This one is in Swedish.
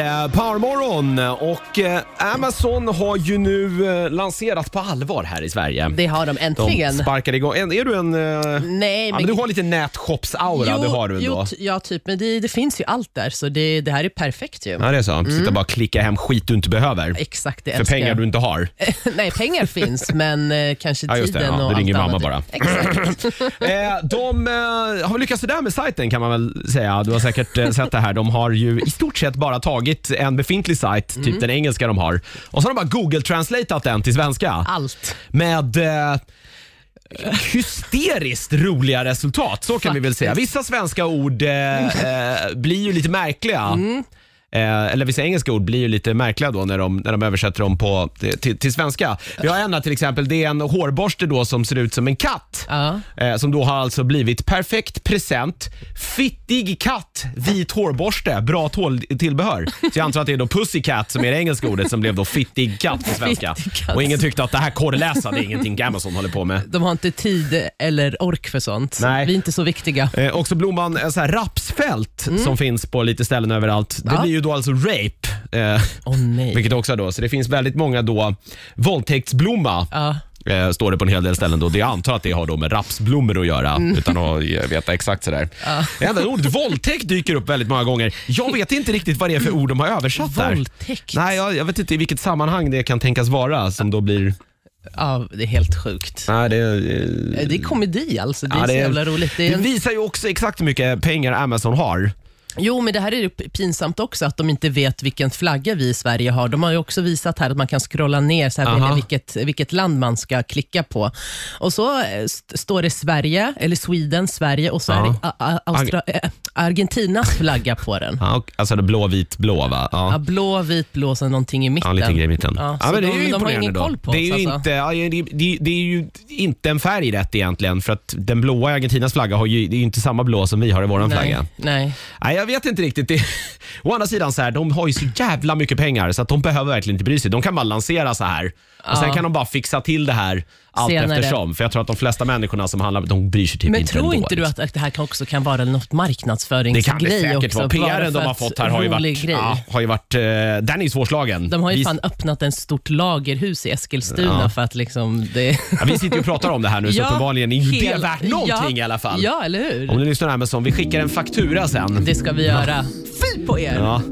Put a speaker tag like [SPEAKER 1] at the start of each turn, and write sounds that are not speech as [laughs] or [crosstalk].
[SPEAKER 1] Eh, Powermorgon och eh, Amazon har ju nu eh, lanserat på allvar här i Sverige.
[SPEAKER 2] Det har de
[SPEAKER 1] De
[SPEAKER 2] äntligen.
[SPEAKER 1] sparkar igång. En- Är du en... eh,
[SPEAKER 2] Nej,
[SPEAKER 1] Ja, men du har lite nätshops-aura, det har du
[SPEAKER 2] jo,
[SPEAKER 1] ändå.
[SPEAKER 2] t- ja, typ. Men det, det finns ju allt där, så det, det här är perfekt ju.
[SPEAKER 1] Ja, det är så. Sitta och bara klicka hem skit du inte behöver.
[SPEAKER 2] Exakt, det
[SPEAKER 1] För
[SPEAKER 2] Mm. älskar
[SPEAKER 1] pengar
[SPEAKER 2] jag.
[SPEAKER 1] du inte har.
[SPEAKER 2] [laughs] Nej, pengar finns, men eh, kanske
[SPEAKER 1] Ja, just det. Ja,
[SPEAKER 2] tiden och
[SPEAKER 1] det
[SPEAKER 2] allt
[SPEAKER 1] ringer mamma
[SPEAKER 2] annat.
[SPEAKER 1] bara.
[SPEAKER 2] Exakt.
[SPEAKER 1] [laughs] Eh, de eh, har väl lyckats sådär med sajten kan man väl säga. Du har säkert eh, sett det här. De har ju i stort sett bara tagit en befintlig sajt,
[SPEAKER 2] Mm.
[SPEAKER 1] typ den engelska de har. Och så har de bara Google-translatat den till svenska.
[SPEAKER 2] Allt.
[SPEAKER 1] Med eh, hysteriskt roliga resultat, så kan vi väl säga. Vissa svenska ord eh, eh, blir ju lite märkliga. Eh, eller vissa engelska ord blir ju lite märkliga då när de, när de översätter dem på, till, till svenska. Vi har en här till exempel, det är en hårborste då som ser ut som en katt.
[SPEAKER 2] Ja.
[SPEAKER 1] Eh, som då har alltså blivit perfekt present, fittig katt, vit hårborste, bra tål- tillbehör. Så jag antar att det är då pussycat som är det engelska ordet som blev då fittig katt på svenska.
[SPEAKER 2] Fittig katt.
[SPEAKER 1] Och ingen tyckte att det här korrläsa, det är ingenting Amazon håller på med.
[SPEAKER 2] De har inte tid eller ork för sånt.
[SPEAKER 1] Nej.
[SPEAKER 2] Vi är inte så viktiga.
[SPEAKER 1] Eh, och så blomman eh, så här, rapsfält som finns på lite ställen överallt. Det
[SPEAKER 2] Mm. Ja.
[SPEAKER 1] blir ju då alltså rape. Eh,
[SPEAKER 2] Åh nej.
[SPEAKER 1] vilket också då, så det finns väldigt många då våldtäktsblomma.
[SPEAKER 2] Ja.
[SPEAKER 1] Eh, står det på en hel del ställen då. Det jag antar att det har då med rapsblommor att göra
[SPEAKER 2] Mm.
[SPEAKER 1] utan att eh, veta exakt sådär. Även ordet våldtäkt dyker upp väldigt många gånger. Jag vet inte riktigt vad det är för ord de har översatt där.
[SPEAKER 2] Våldtäkt.
[SPEAKER 1] Nej, jag, jag vet inte i vilket sammanhang det kan tänkas vara som då blir...
[SPEAKER 2] Ja, det är helt sjukt.
[SPEAKER 1] Nej, det,
[SPEAKER 2] Det är komedi alltså. Det är
[SPEAKER 1] Ja,
[SPEAKER 2] så
[SPEAKER 1] det-
[SPEAKER 2] jävla roligt. Det är
[SPEAKER 1] det
[SPEAKER 2] en...
[SPEAKER 1] visar ju också exakt hur mycket pengar Amazon har.
[SPEAKER 2] Jo, men det här är ju p- pinsamt också, att de inte vet vilken flagga vi i Sverige har. De har ju också visat här att man kan scrolla ner så här,
[SPEAKER 1] Aha.
[SPEAKER 2] välja vilket, vilket land man ska klicka på. Och så eh, st- står det Sverige, eller Sweden, Sverige och så är
[SPEAKER 1] Ja.
[SPEAKER 2] det a- a- Austra- eh, Argentinas flagga på den.
[SPEAKER 1] Ja, och, alltså det blå, vit, blå va?
[SPEAKER 2] Ja,
[SPEAKER 1] Ja.
[SPEAKER 2] blå, vit, blå, sen någonting i mitten.
[SPEAKER 1] Ja, lite grej i mitten.
[SPEAKER 2] Ja,
[SPEAKER 1] men
[SPEAKER 2] så
[SPEAKER 1] det
[SPEAKER 2] de-
[SPEAKER 1] är ju
[SPEAKER 2] de har
[SPEAKER 1] imponerande
[SPEAKER 2] ingen
[SPEAKER 1] då.
[SPEAKER 2] koll på
[SPEAKER 1] det är
[SPEAKER 2] oss,
[SPEAKER 1] ju
[SPEAKER 2] alltså.
[SPEAKER 1] inte, ja, det, det, det är ju inte en färg rätt egentligen för att den blåa Argentinas flagga har ju, det är ju inte samma blå som vi har i våran
[SPEAKER 2] Nej,
[SPEAKER 1] flagga.
[SPEAKER 2] nej.
[SPEAKER 1] Nej, jag vet inte riktigt. Det, å andra sidan, så här, de har ju så jävla mycket pengar så att de behöver verkligen inte bry sig. De kan bara lansera så här och sen kan de bara fixa till det här allt
[SPEAKER 2] Senare.
[SPEAKER 1] eftersom. För jag tror att de flesta människorna som handlar, de bryr sig typ
[SPEAKER 2] Men
[SPEAKER 1] inte
[SPEAKER 2] tror
[SPEAKER 1] ändå,
[SPEAKER 2] inte du
[SPEAKER 1] liksom.
[SPEAKER 2] att att det här kan också kan vara
[SPEAKER 1] Det
[SPEAKER 2] något
[SPEAKER 1] kan det
[SPEAKER 2] marknadsföringsgrej
[SPEAKER 1] säkert
[SPEAKER 2] Alltså, också?
[SPEAKER 1] vara.
[SPEAKER 2] bara
[SPEAKER 1] PRn de
[SPEAKER 2] för
[SPEAKER 1] har
[SPEAKER 2] att
[SPEAKER 1] fått här har ju
[SPEAKER 2] rolig
[SPEAKER 1] varit,
[SPEAKER 2] grej.
[SPEAKER 1] ja, har ju varit eh, den är ju svårslagen.
[SPEAKER 2] De har ju
[SPEAKER 1] Vi-
[SPEAKER 2] fan öppnat en stort lagerhus i Eskilstuna för att liksom det...
[SPEAKER 1] Ja, vi sitter ju och pratar om det här nu,
[SPEAKER 2] [laughs]
[SPEAKER 1] så uppenbarligen är ju det
[SPEAKER 2] hel-
[SPEAKER 1] värt någonting
[SPEAKER 2] ja,
[SPEAKER 1] i alla fall.
[SPEAKER 2] Ja, eller hur?
[SPEAKER 1] Om du lyssnar Amazon, vi skickar en faktura sen.
[SPEAKER 2] Det ska vi göra. Fy på er!
[SPEAKER 1] Ja.